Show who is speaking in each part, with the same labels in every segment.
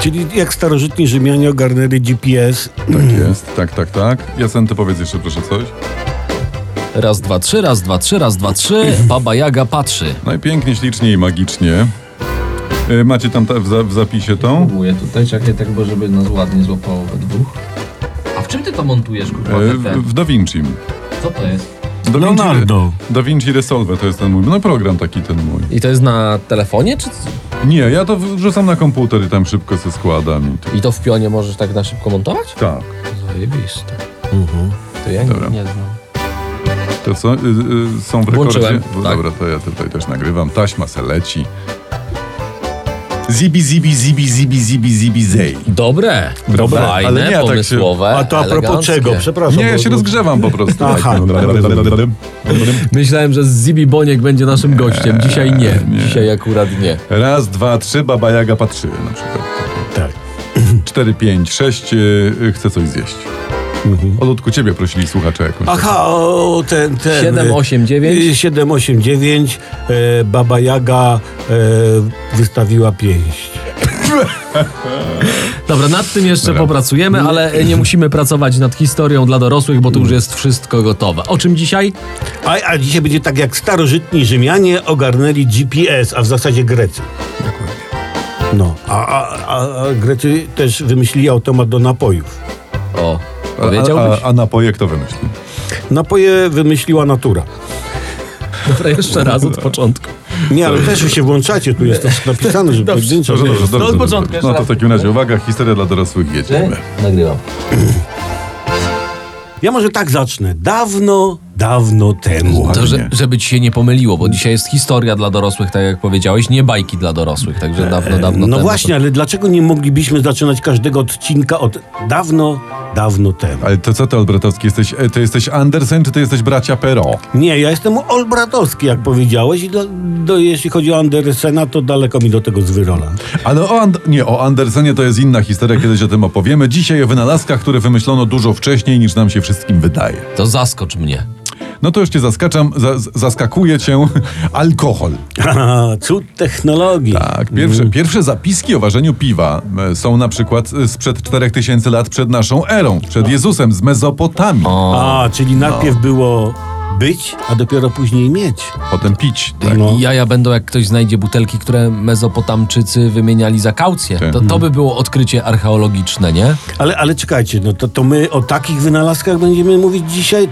Speaker 1: Czyli jak starożytni Rzymianie ogarnęli GPS,
Speaker 2: Tak jest, tak, tak, tak. Jasenty, powiedz jeszcze proszę coś.
Speaker 3: Raz, dwa, trzy, raz, dwa, trzy, raz, dwa, trzy. Baba Jaga patrzy.
Speaker 2: Najpięknie, ślicznie i magicznie. Y, Macie tam ta, w, za, w zapisie tą?
Speaker 4: Próbuję tutaj, czekaj, tak, bo żeby nas ładnie złapało we dwóch. A w czym ty to montujesz,
Speaker 2: Y,
Speaker 4: kurwa,
Speaker 2: W,
Speaker 4: te?
Speaker 2: w Da Vinci.
Speaker 4: Co to jest?
Speaker 2: Da
Speaker 1: Leonardo.
Speaker 2: Da Vinci Resolve to jest ten mój, no program taki ten mój.
Speaker 5: I to jest na telefonie, czy...
Speaker 2: Nie, ja to wrzucam na komputer i tam szybko se składam. i tu-
Speaker 5: I to w pionie możesz tak na szybko montować? Mhm.
Speaker 2: Tak,
Speaker 4: Zajebiste.
Speaker 5: To ja nie.
Speaker 2: dobra.
Speaker 4: Nie znam.
Speaker 2: To co? Y, y, są w rekordzie?
Speaker 5: Włączyłem,
Speaker 2: No
Speaker 5: tak.
Speaker 2: Dobra, to ja tutaj też nagrywam. Taśma se leci. Zibi, zibi, zibi, zibi, zibi, zibi, zej.
Speaker 5: Dobre.
Speaker 2: Dobre,
Speaker 5: Fajne,
Speaker 2: ale nie, tak się-
Speaker 5: pomysłowe,
Speaker 1: a to a propos
Speaker 5: eleganckie.
Speaker 1: czego? Przepraszam.
Speaker 2: Nie, ja
Speaker 1: bo-
Speaker 2: się rozgrzewam po prostu.
Speaker 1: Aha. no tak.
Speaker 5: Myślałem, że Zibi Boniek będzie naszym gościem. Dzisiaj nie.
Speaker 2: nie.
Speaker 5: Dzisiaj akurat nie.
Speaker 2: Raz, dwa, trzy, Baba Jaga patrzy na przykład.
Speaker 1: Tak.
Speaker 2: Cztery, pięć, sześć, y, y, chcę coś zjeść. O Ludku, ciebie prosili słuchacze jakąś.
Speaker 1: Aha, o, ten, ten. y,
Speaker 5: 7, 8, 9.
Speaker 1: 789 e, Baba Jaga e, wystawiła pięść.
Speaker 5: Dobra, nad tym jeszcze popracujemy, ale nie musimy pracować nad historią dla dorosłych, bo tu już jest wszystko gotowe. O czym dzisiaj?
Speaker 1: A, a dzisiaj będzie tak, jak starożytni Rzymianie ogarnęli GPS, a w zasadzie Grecy. No, a, a, a, a Grecy też wymyślili automat do napojów.
Speaker 5: O,
Speaker 2: A-
Speaker 5: powiedziałbyś?
Speaker 2: A, a napoje kto wymyślił?
Speaker 1: Napoje wymyśliła natura.
Speaker 5: Dobra, jeszcze raz od początku.
Speaker 1: Nie, ale też wy się włączacie, tu jest to napisane, że pojedynczo.
Speaker 2: Dobrze, dobrze, dobrze,
Speaker 5: od
Speaker 2: dobrze,
Speaker 5: początku,
Speaker 2: dobrze.
Speaker 5: jeszcze
Speaker 2: No to
Speaker 5: raz.
Speaker 2: w takim razie uwaga, historia dla dorosłych jedziemy.
Speaker 4: Nagrywam.
Speaker 1: Ja może tak zacznę. Dawno, dawno temu.
Speaker 5: To, że,
Speaker 2: nie.
Speaker 5: żeby ci się nie pomyliło, bo dzisiaj jest historia dla dorosłych, tak jak powiedziałeś, nie bajki dla dorosłych, także
Speaker 2: E,
Speaker 5: dawno, dawno
Speaker 1: No
Speaker 5: temu.
Speaker 1: właśnie, ale dlaczego nie moglibyśmy zaczynać każdego odcinka od dawno, dawno temu?
Speaker 2: Ale to co ty, Olbratowski, jesteś, e, ty jesteś Andersen, czy ty jesteś bracia Pero?
Speaker 1: Nie, ja jestem olbratowski, jak powiedziałeś, i do, do, jeśli chodzi o Andersena, to daleko mi do tego z wyrola.
Speaker 2: Ale o And- nie, o Andersenie to jest inna historia, kiedyś o tym opowiemy. Dzisiaj o wynalazkach, które wymyślono dużo wcześniej niż nam się wszystkim wydaje.
Speaker 5: To zaskocz mnie.
Speaker 2: No to już cię zaskaczam, za- z- zaskakuje cię alkohol.
Speaker 1: Haha, Cud technologii.
Speaker 2: Tak, pierwsze,
Speaker 1: Mhm.
Speaker 2: pierwsze zapiski o ważeniu piwa e, są na przykład e, sprzed 4000 lat przed naszą erą, przed Jezusem z Mezopotamii.
Speaker 5: No.
Speaker 1: A, czyli najpierw było być, a dopiero później mieć.
Speaker 2: Potem pić. Tak.
Speaker 1: No.
Speaker 5: I Jaja będą, jak ktoś znajdzie butelki, które Mezopotamczycy wymieniali za kaucję.
Speaker 2: Tak.
Speaker 5: To, to by było odkrycie archeologiczne, nie?
Speaker 1: Ale, ale czekajcie, no to, to my o takich wynalazkach będziemy mówić dzisiaj?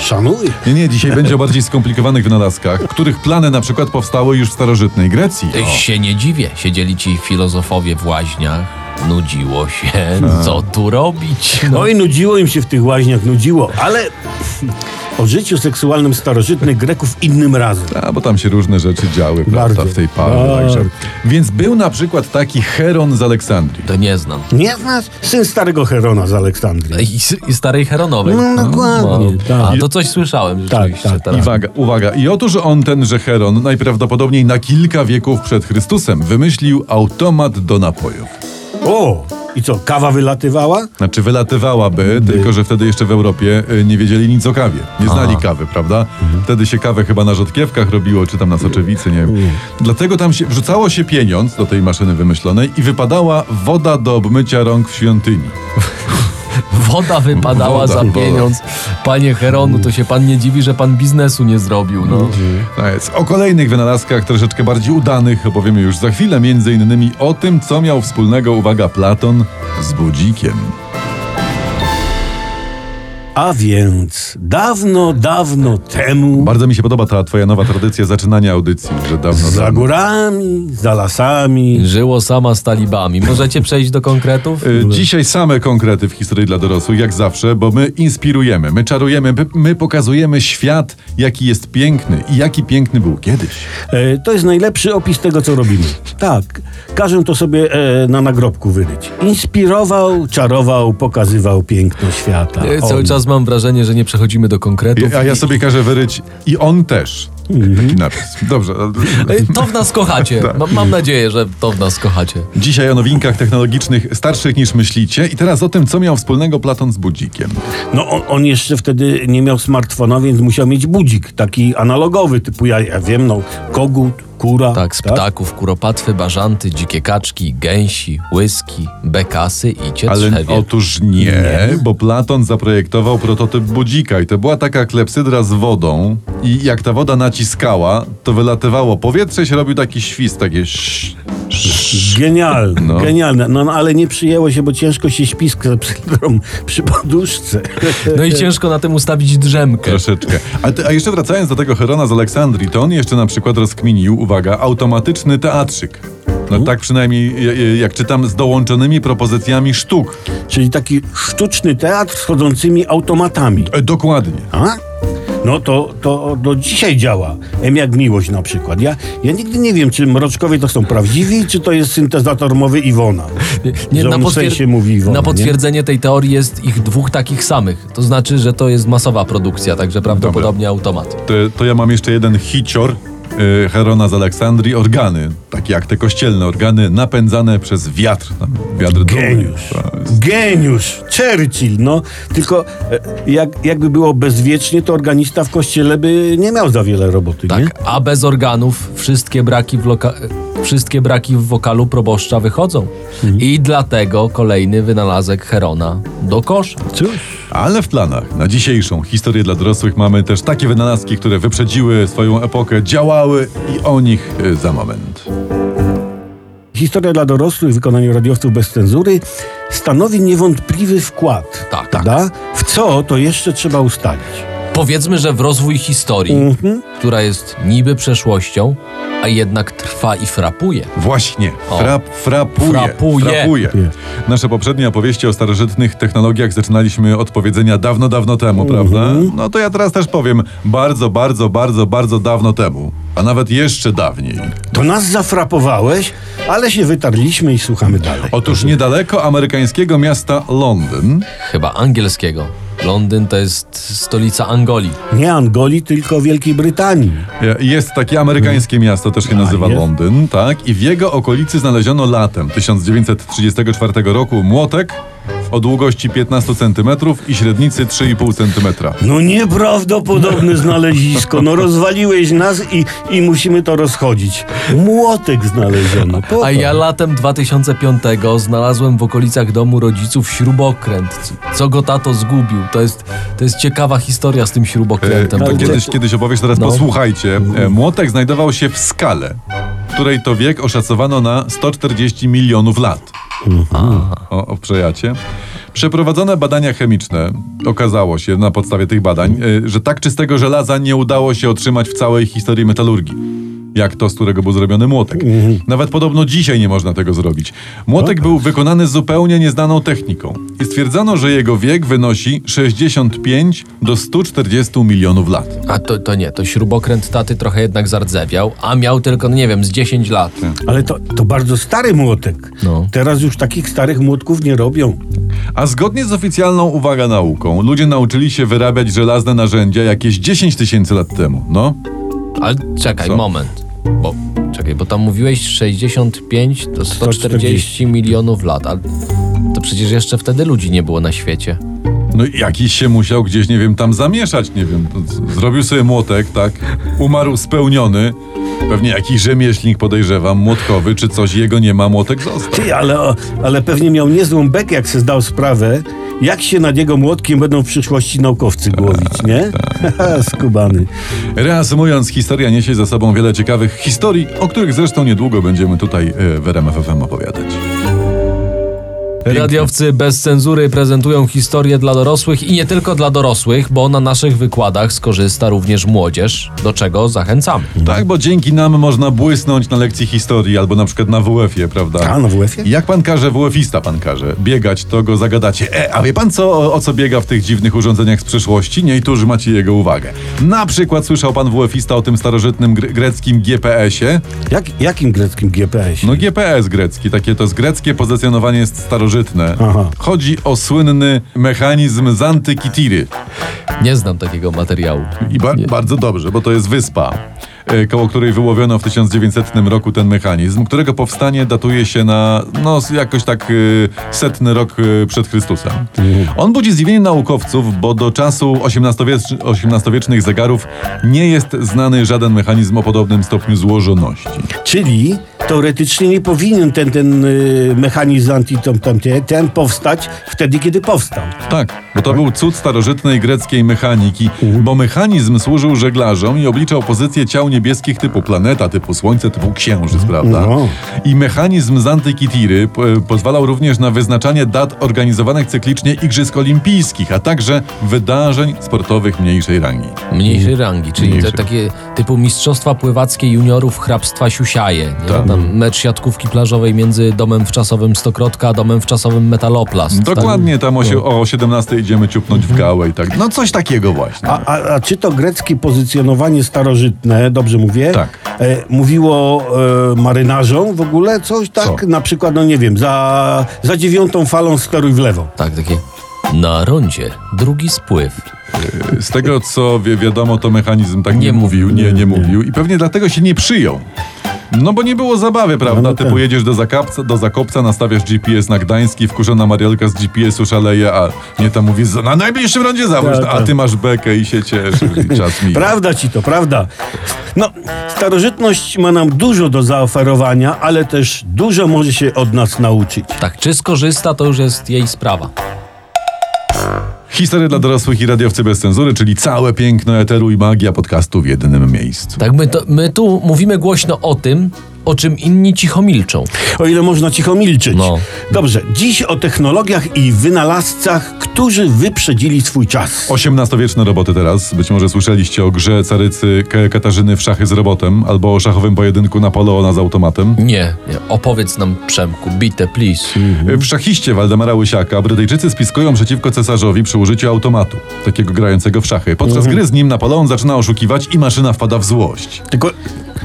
Speaker 1: Szanuję.
Speaker 2: Nie, nie, dzisiaj będzie o bardziej skomplikowanych wynalazkach, których plany na przykład powstały już w starożytnej Grecji.
Speaker 5: Ty się nie dziwię. Siedzieli ci filozofowie w łaźniach, nudziło się, co tu robić? No.
Speaker 1: Oj, nudziło im się w tych łaźniach, nudziło, ale o życiu seksualnym starożytnych Greków innym razem.
Speaker 5: Tak.
Speaker 2: A, bo tam się różne rzeczy działy, prawda,
Speaker 1: Bardzo. Tak.
Speaker 2: w tej parze.
Speaker 1: Bardzo.
Speaker 2: Także. Więc był na przykład taki Heron z Aleksandrii.
Speaker 5: To nie znam. No
Speaker 1: Nie znasz? Syn starego Herona z Aleksandrii.
Speaker 5: I, s- i starej Heronowej.
Speaker 1: No, dokładnie,
Speaker 5: A,
Speaker 1: tak.
Speaker 5: to coś słyszałem rzeczywiście
Speaker 1: tak.
Speaker 2: I
Speaker 5: teraz.
Speaker 2: Uwaga, uwaga. I otóż on, tenże Heron, najprawdopodobniej na kilka wieków przed Chrystusem, wymyślił automat do napojów.
Speaker 1: O, i co, kawa wylatywała?
Speaker 2: Znaczy wylatywałaby, tylko że wtedy jeszcze w Europie y, nie wiedzieli nic o kawie. Nie znali kawy, prawda? Wtedy się kawę chyba na rzodkiewkach robiło, czy tam na soczewicy, nie wiem. Dlatego tam się wrzucało się pieniądz do tej maszyny wymyślonej i wypadała woda do obmycia rąk w świątyni.
Speaker 5: Woda wypadała
Speaker 2: Woda,
Speaker 5: za
Speaker 2: woda.
Speaker 5: pieniądz. Panie Heronu, to się pan nie dziwi, że pan biznesu nie zrobił. No.
Speaker 2: Tak jest. O kolejnych wynalazkach troszeczkę bardziej udanych opowiemy już za chwilę, między innymi o tym, co miał wspólnego, uwaga, Platon z budzikiem.
Speaker 1: A więc dawno, dawno temu,
Speaker 2: Bardzo mi się podoba ta twoja nowa tradycja zaczynania audycji, że dawno
Speaker 1: za
Speaker 2: temu.
Speaker 1: górami, za lasami.
Speaker 5: Żyło sama z talibami. Możecie przejść do konkretów?
Speaker 2: Y, Dzisiaj same konkrety w historii dla dorosłych, jak zawsze, bo my inspirujemy, my czarujemy, my, my pokazujemy świat, jaki jest piękny i jaki piękny był kiedyś.
Speaker 1: E, to jest najlepszy opis tego, co robimy. Tak, każę to sobie e, na nagrobku wyryć. Inspirował, czarował, pokazywał piękno świata.
Speaker 5: Ja Y, E, Cały
Speaker 1: On.
Speaker 5: czas mam wrażenie, że nie przechodzimy do konkretów. Y,
Speaker 2: I- A ja sobie każę wyryć i on też. Taki napis. Dobrze.
Speaker 5: Ej, To w nas kochacie. Ma- Mam nadzieję, że to w nas kochacie.
Speaker 2: Dzisiaj o nowinkach technologicznych starszych niż myślicie i teraz o tym, co miał wspólnego Platon z budzikiem.
Speaker 1: No on, on jeszcze wtedy nie miał smartfona, więc musiał mieć budzik, taki analogowy, typu ja, ja wiem, no kogut, kura.
Speaker 5: Tak, z ptaków, kuropatwy, bażanty, dzikie kaczki, gęsi, łyski, bekasy i
Speaker 2: Ale
Speaker 5: cietrzewie.
Speaker 2: otóż nie, bo Platon zaprojektował prototyp budzika i to była taka klepsydra z wodą i jak ta woda naciskała, to wylatywało powietrze i się robił taki świst, takie sz, sz.
Speaker 1: Genialne,
Speaker 2: No.
Speaker 1: genialne. No, no ale nie przyjęło się, bo ciężko się śpi z klepsydrą przy poduszce.
Speaker 5: No i ciężko na tym ustawić drzemkę.
Speaker 2: Troszeczkę. A, ty, a jeszcze wracając do tego Herona z Aleksandrii, to on jeszcze na przykład rozkminił, uwaga, automatyczny teatrzyk. No tak przynajmniej je- je- jak czytam, z dołączonymi propozycjami sztuk.
Speaker 1: Czyli taki sztuczny teatr z chodzącymi automatami.
Speaker 2: E, dokładnie.
Speaker 1: A? No to, to do dzisiaj działa. M jak miłość na przykład. Ja, ja nigdy nie wiem, czy mroczkowie to są prawdziwi, czy to jest syntezator mowy Iwona.
Speaker 5: Nie,
Speaker 1: Że on w sensie mówi Iwona,
Speaker 5: na
Speaker 1: nie?
Speaker 5: potwierdzenie tej teorii jest ich dwóch takich samych. To znaczy, że to jest masowa produkcja, także prawdopodobnie automat.
Speaker 2: To, to ja mam jeszcze jeden hicior y, Herona z Aleksandrii. Organy, takie jak te kościelne organy, napędzane przez wiatr. Tam wiatr dumy.
Speaker 1: Geniusz.
Speaker 2: To jest-
Speaker 1: Geniusz. Churchill, no. Tylko e, jak, jakby było bezwiecznie, to organista w kościele by nie miał za wiele roboty, nie?
Speaker 5: Tak, a bez organów wszystkie braki w, loka- wszystkie braki w wokalu proboszcza wychodzą. I dlatego kolejny wynalazek Herona do kosza.
Speaker 2: Ale w planach na dzisiejszą historię dla dorosłych mamy też takie wynalazki, które wyprzedziły swoją epokę, działały i o nich y, za moment.
Speaker 1: Historia dla dorosłych w wykonaniu radiowców bez cenzury stanowi niewątpliwy wkład.
Speaker 5: Tak.
Speaker 1: prawda? W co to jeszcze trzeba ustalić?
Speaker 5: Powiedzmy, że w rozwój historii, która jest niby przeszłością, a jednak trwa i frapuje.
Speaker 2: Właśnie.
Speaker 5: O.
Speaker 2: Frap, frapuje,
Speaker 5: Frapuje.
Speaker 1: Frapuje.
Speaker 2: Nasze poprzednie opowieści o starożytnych technologiach zaczynaliśmy od powiedzenia dawno, dawno temu, prawda? No to ja teraz też powiem bardzo, bardzo, bardzo, bardzo dawno temu. A nawet jeszcze dawniej.
Speaker 1: To nas zafrapowałeś, ale się wytarliśmy i słuchamy dalej.
Speaker 2: Otóż niedaleko amerykańskiego miasta Londyn
Speaker 5: Chyba angielskiego. Londyn to jest stolica Angolii.
Speaker 1: Nie Angolii, tylko Wielkiej Brytanii.
Speaker 2: e, jest takie amerykańskie miasto, też się
Speaker 1: A,
Speaker 2: nazywa
Speaker 1: jest?
Speaker 2: Londyn, tak? I w jego okolicy znaleziono latem 1934 roku młotek o długości 15 cm i średnicy 3,5 cm.
Speaker 1: No nieprawdopodobne znalezisko. No rozwaliłeś nas i, i musimy to rozchodzić. Młotek znaleziono. Po
Speaker 5: A
Speaker 1: to.
Speaker 5: ja latem 2005 znalazłem w okolicach domu rodziców śrubokręt. C- Co go tato zgubił? To jest, to jest ciekawa historia z tym
Speaker 2: E,
Speaker 5: śrubokrętem.
Speaker 2: to
Speaker 5: w ogóle.
Speaker 2: kiedyś, kiedyś opowiesz, teraz
Speaker 5: No.
Speaker 2: posłuchajcie. E, Młotek znajdował się w skale, której to wiek oszacowano na 140 milionów lat. O, o przejacie. Przeprowadzone badania chemiczne okazało się na podstawie tych badań, e, że tak czystego żelaza nie udało się otrzymać w całej historii metalurgii. Jak to, z którego był zrobiony młotek. Nawet podobno dzisiaj nie można tego zrobić. Młotek był wykonany zupełnie nieznaną techniką i stwierdzono, że jego wiek wynosi 65 do 140 milionów lat.
Speaker 5: A to, to nie, to śrubokręt taty trochę jednak zardzewiał, a miał tylko, no nie wiem, z 10 lat.
Speaker 1: Ale to, to bardzo stary młotek.
Speaker 5: No.
Speaker 1: Teraz już takich starych młotków nie robią.
Speaker 2: A zgodnie z oficjalną, uwaga, nauką, ludzie nauczyli się wyrabiać żelazne narzędzia jakieś 10 tysięcy lat temu. No,
Speaker 5: Ale czekaj,
Speaker 2: Co?
Speaker 5: moment. Bo, czekaj, bo tam mówiłeś 65 to 140 milionów lat, ale to przecież jeszcze wtedy ludzi nie było na świecie.
Speaker 2: no i jakiś się musiał gdzieś, nie wiem, tam zamieszać, nie wiem. to z- Zrobił sobie młotek, tak? Umarł spełniony. Pewnie jakiś rzemieślnik, podejrzewam, młotkowy czy coś, jego nie ma, młotek został.
Speaker 1: Ty, ale, ale pewnie miał niezłą bekę, jak se zdał sprawę, jak się nad jego młotkiem będą w przyszłości naukowcy głowić, nie? Haha, Skubany.
Speaker 2: Reasumując, historia niesie za sobą wiele ciekawych historii, o których zresztą niedługo będziemy tutaj e, w RMF FM opowiadać.
Speaker 5: Radiowcy bez cenzury prezentują historię dla dorosłych i nie tylko dla dorosłych, bo na naszych wykładach skorzysta również młodzież, do czego zachęcamy.
Speaker 2: Tak, bo dzięki nam można błysnąć na lekcji historii albo na przykład na WF-ie, prawda?
Speaker 1: A, no w UEFie?
Speaker 2: Jak pan każe, WF-ista pan każe, biegać, to go zagadacie. E, a wie pan co, o, o co biega w tych dziwnych urządzeniach z przeszłości? Nie, i tu już macie jego uwagę. Na przykład słyszał pan WF-ista o tym starożytnym gre- greckim GPS-ie?
Speaker 1: Jak, jakim greckim GPS?
Speaker 2: No GPS grecki, takie to jest greckie pozycjonowanie starożytne. starożytne.
Speaker 1: Aha.
Speaker 2: Chodzi o słynny mechanizm z antyki Tiry.
Speaker 5: Nie znam takiego materiału.
Speaker 2: I ba-
Speaker 5: Nie.
Speaker 2: bardzo dobrze, bo to jest wyspa, e, koło której wyłowiono w 1900 roku ten mechanizm, którego powstanie datuje się na no, s- jakoś tak e, setny rok e, przed Chrystusem. On budzi zdziwienie naukowców, bo do czasu XVIII-wiecz- XVIII-wiecznych zegarów nie jest znany żaden mechanizm o podobnym stopniu złożoności.
Speaker 1: Czyli teoretycznie nie powinien ten, ten y, mechanizm anti tam, tam, ten powstać wtedy, kiedy powstał.
Speaker 2: Tak, bo to był cud starożytnej greckiej mechaniki, bo mechanizm służył żeglarzom i obliczał pozycję ciał niebieskich typu planeta, typu Słońce, typu Księżyc, prawda?
Speaker 1: No.
Speaker 2: I mechanizm z antyki Tiry p- pozwalał również na wyznaczanie dat organizowanych cyklicznie Igrzysk Olimpijskich, a także wydarzeń sportowych mniejszej rangi.
Speaker 5: Mniejszej rangi, czyli te
Speaker 2: Mhm. Mniejszej.
Speaker 5: takie typu mistrzostwa pływackie juniorów hrabstwa Siusiaje. nie?
Speaker 2: Tak.
Speaker 5: Tam mecz siatkówki plażowej między domem wczasowym Stokrotka a domem wczasowym Metaloplast.
Speaker 2: Dokładnie tam o, sie- o 17 idziemy ciupnąć w gałę i tak. No coś takiego właśnie.
Speaker 1: A, a, a czy to greckie pozycjonowanie starożytne, dobrze mówię?
Speaker 2: Tak.
Speaker 1: E, mówiło e, marynarzom w ogóle coś tak?
Speaker 2: Co?
Speaker 1: Na przykład, no nie wiem, za, za dziewiątą falą steruj w lewo.
Speaker 5: Tak, takie. Na rondzie drugi spływ.
Speaker 2: Z tego, co wie, wiadomo, to mechanizm tak nie,
Speaker 5: Nie
Speaker 2: mówił, nie, nie mówił i pewnie dlatego się nie przyjął. No bo nie było zabawy, prawda?
Speaker 1: No, no
Speaker 2: Ty
Speaker 1: tak.
Speaker 2: pojedziesz do, zakapca, do Zakopca, nastawiasz GPS na Gdański, wkurzona Marielka z GPS-u szaleje, a nie tam mówi, "Za- na najbliższym rondzie zawróć,
Speaker 1: Tak,
Speaker 2: a
Speaker 1: tak.
Speaker 2: ty masz bekę i się cieszysz i czas mi.
Speaker 1: Prawda ci to, prawda? No, starożytność ma nam dużo do zaoferowania, ale też dużo może się od nas nauczyć.
Speaker 5: Tak, czy skorzysta, to już jest jej sprawa.
Speaker 2: Historia dla dorosłych i radiowcy bez cenzury, czyli całe piękno eteru i magia podcastu w jednym miejscu.
Speaker 5: Tak, my, to, my tu mówimy głośno o tym, o czym inni cicho milczą.
Speaker 1: O ile można cicho milczeć.
Speaker 5: No.
Speaker 1: Dobrze, dziś o technologiach i wynalazcach, którzy wyprzedzili swój czas.
Speaker 2: XVIII-wieczne roboty teraz. Być może słyszeliście o grze carycy K- Katarzyny w szachy z robotem albo o szachowym pojedynku Napoleona z automatem.
Speaker 5: Nie, nie. opowiedz nam, Przemku, bite, please.
Speaker 2: W szachiście Waldemara Łysiaka Brytyjczycy spiskują przeciwko cesarzowi przy użyciu automatu, takiego grającego w szachy. Podczas gry z nim Napoleon zaczyna oszukiwać i maszyna wpada w złość.
Speaker 1: Tylko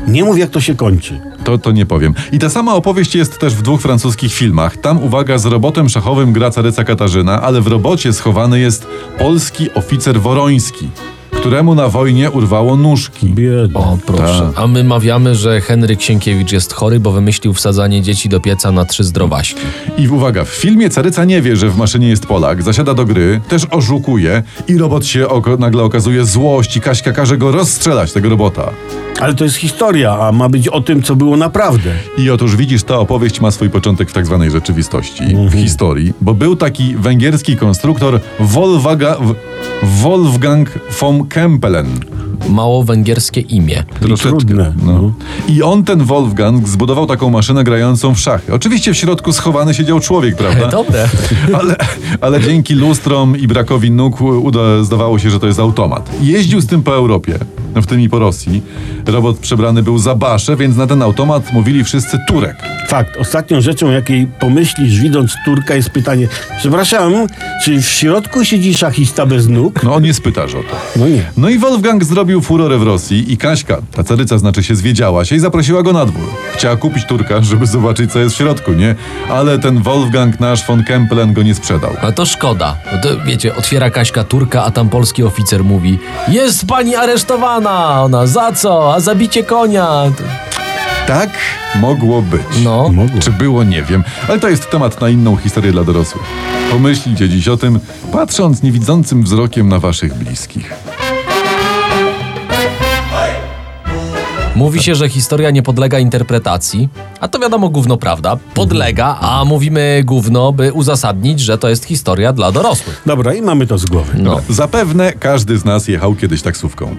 Speaker 1: nie mów, jak to się kończy.
Speaker 2: To, to nie powiem. I ta sama opowieść jest też w dwóch francuskich filmach. Tam, uwaga, z robotem szachowym gra caryca Katarzyna, ale w robocie schowany jest polski oficer Woroński, któremu na wojnie urwało nóżki.
Speaker 5: O, proszę.
Speaker 2: Tak.
Speaker 5: A my mawiamy, że Henryk Sienkiewicz jest chory, bo wymyślił wsadzanie dzieci do pieca na trzy zdrowaśki.
Speaker 2: I uwaga, w filmie Caryca nie wie, że w maszynie jest Polak, zasiada do gry, też oszukuje i robot się oko- nagle okazuje złość i Kaśka każe go rozstrzelać, tego robota.
Speaker 1: Ale to jest historia, a ma być o tym, co było naprawdę.
Speaker 2: I otóż widzisz, ta opowieść ma swój początek w tak zwanej rzeczywistości, w historii, bo był taki węgierski konstruktor Wolwaga, w- Wolfgang von Kempelen.
Speaker 5: Mało węgierskie imię.
Speaker 2: Troszeczkę.
Speaker 1: trudne.
Speaker 2: No. I on, ten Wolfgang, zbudował taką maszynę grającą w szachy. Oczywiście w środku schowany siedział człowiek, prawda?
Speaker 5: Dobre.
Speaker 2: Ale, ale dzięki lustrom i brakowi nóg uda, zdawało się, że to jest automat. Jeździł z tym po Europie, w tym i po Rosji. Robot przebrany był za baszę, więc na ten automat mówili wszyscy Turek.
Speaker 1: Fakt. Ostatnią rzeczą, jakiej pomyślisz, widząc Turka, jest pytanie: Przepraszam, czy w środku siedzi szachista bez nóg?
Speaker 2: No on nie spytasz o to.
Speaker 1: No nie.
Speaker 2: No i Wolfgang zrobił furorę w Rosji i Kaśka, ta caryca znaczy się zwiedziała się i zaprosiła go na dwór. Chciała kupić Turka, żeby zobaczyć co jest w środku, nie? Ale ten Wolfgang nasz von Kempelen go nie sprzedał.
Speaker 5: A No to szkoda. Bo To, wiecie, otwiera Kaśka Turka, a tam polski oficer mówi Jest pani aresztowana! Ona, za co? A zabicie konia!
Speaker 2: Tak mogło być.
Speaker 5: No.
Speaker 1: Mogło.
Speaker 2: Czy było, nie wiem. Ale to jest temat na inną historię dla dorosłych. Pomyślcie dziś o tym, patrząc niewidzącym wzrokiem na waszych bliskich.
Speaker 5: Mówi się, że historia nie podlega interpretacji, a to wiadomo gówno prawda. Podlega, a mówimy gówno, by uzasadnić, że to jest historia dla dorosłych.
Speaker 1: Dobra, i mamy to z głowy.
Speaker 5: No.
Speaker 2: Zapewne każdy z nas jechał kiedyś taksówką.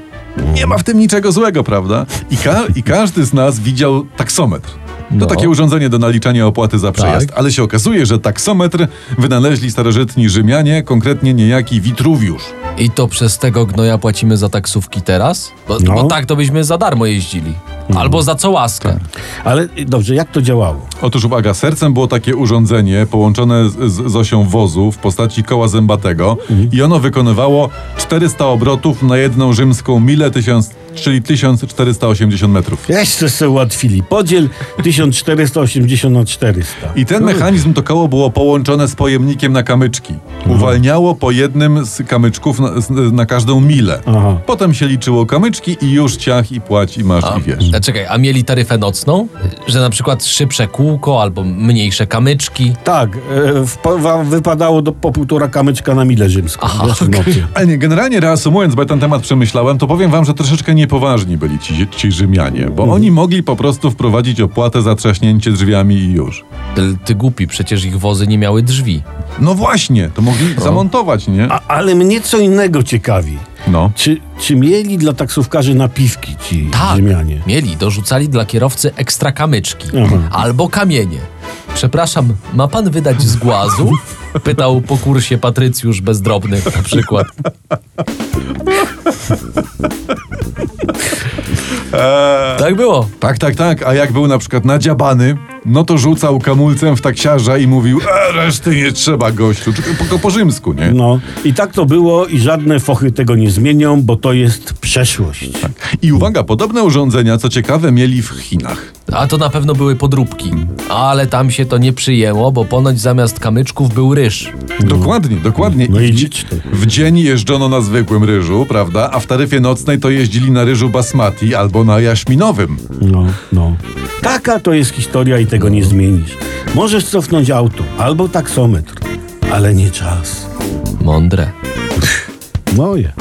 Speaker 2: Nie ma w tym niczego złego, prawda? I, ka- i każdy z nas widział taksometr. To
Speaker 5: No.
Speaker 2: takie urządzenie do naliczania opłaty za przejazd. Ale się okazuje, że taksometr wynaleźli starożytni Rzymianie, konkretnie niejaki Witruwiusz.
Speaker 5: I to przez tego gnoja płacimy za taksówki teraz? Bo,
Speaker 1: No.
Speaker 5: bo tak to byśmy za darmo jeździli. Albo za co łaskę.
Speaker 1: Ale y, dobrze, jak to działało?
Speaker 2: Otóż uwaga, sercem było takie urządzenie połączone z, z, z osią wozu w postaci koła zębatego i ono wykonywało 400 obrotów na jedną rzymską milę 1000 czyli 1480 metrów.
Speaker 1: Jeszcze se ułatwili. Podziel 1480 na 400.
Speaker 2: I ten mechanizm to koło było połączone z pojemnikiem na kamyczki. Uwalniało po jednym z kamyczków na, z- na każdą milę.
Speaker 1: Aha.
Speaker 2: Potem się liczyło kamyczki i już ciach i płać i masz i wiesz.
Speaker 5: A E, czekaj, a mieli taryfę nocną? Że na przykład szybsze kółko albo mniejsze kamyczki?
Speaker 1: Tak, e, w, wam wypadało do, po półtora kamyczka na milę rzymską. Aha,
Speaker 2: Ale nie, generalnie reasumując, bo ja ten temat przemyślałem, to powiem wam, że troszeczkę niepoważni byli ci, ci Rzymianie,
Speaker 1: Mhm.
Speaker 2: bo oni mogli po prostu wprowadzić opłatę za trzaśnięcie drzwiami i już.
Speaker 5: Ty, ty głupi, przecież ich wozy nie miały drzwi.
Speaker 2: No właśnie, to mogli zamontować, nie?
Speaker 1: A, ale mnie co innego ciekawi.
Speaker 2: No.
Speaker 1: Czy, czy mieli dla taksówkarzy napiwki ci
Speaker 5: Tak,
Speaker 1: Rzymianie?
Speaker 5: mieli, dorzucali dla kierowcy ekstra kamyczki
Speaker 1: Mhm.
Speaker 5: albo kamienie. Przepraszam, ma pan wydać z głazu? Pytał po kursie Patrycjusz Bezdrobny na przykład. Tak było.
Speaker 2: Tak, tak, tak. A jak był na przykład nadziabany, no to rzucał kamulcem w taksiarza i mówił, e, reszty nie trzeba, gościu. Tylko po, po rzymsku, nie?
Speaker 1: No, i tak to było i żadne fochy tego nie zmienią, bo to jest przeszłość.
Speaker 2: I uwaga, podobne urządzenia, co ciekawe, mieli w Chinach.
Speaker 5: A to na pewno były podróbki. Ale tam się to nie przyjęło, bo ponoć zamiast kamyczków był ryż.
Speaker 2: Mm. Dokładnie, dokładnie.
Speaker 1: No i
Speaker 2: w-
Speaker 1: licz ty.
Speaker 2: W dzień jeżdżono na zwykłym ryżu, prawda? A w taryfie nocnej to jeździli na ryżu basmati albo na jaśminowym.
Speaker 1: No, no. Taka to jest historia i tego nie zmienisz. Możesz cofnąć auto albo taksometr, ale nie czas.
Speaker 5: Mądre.
Speaker 1: Moje.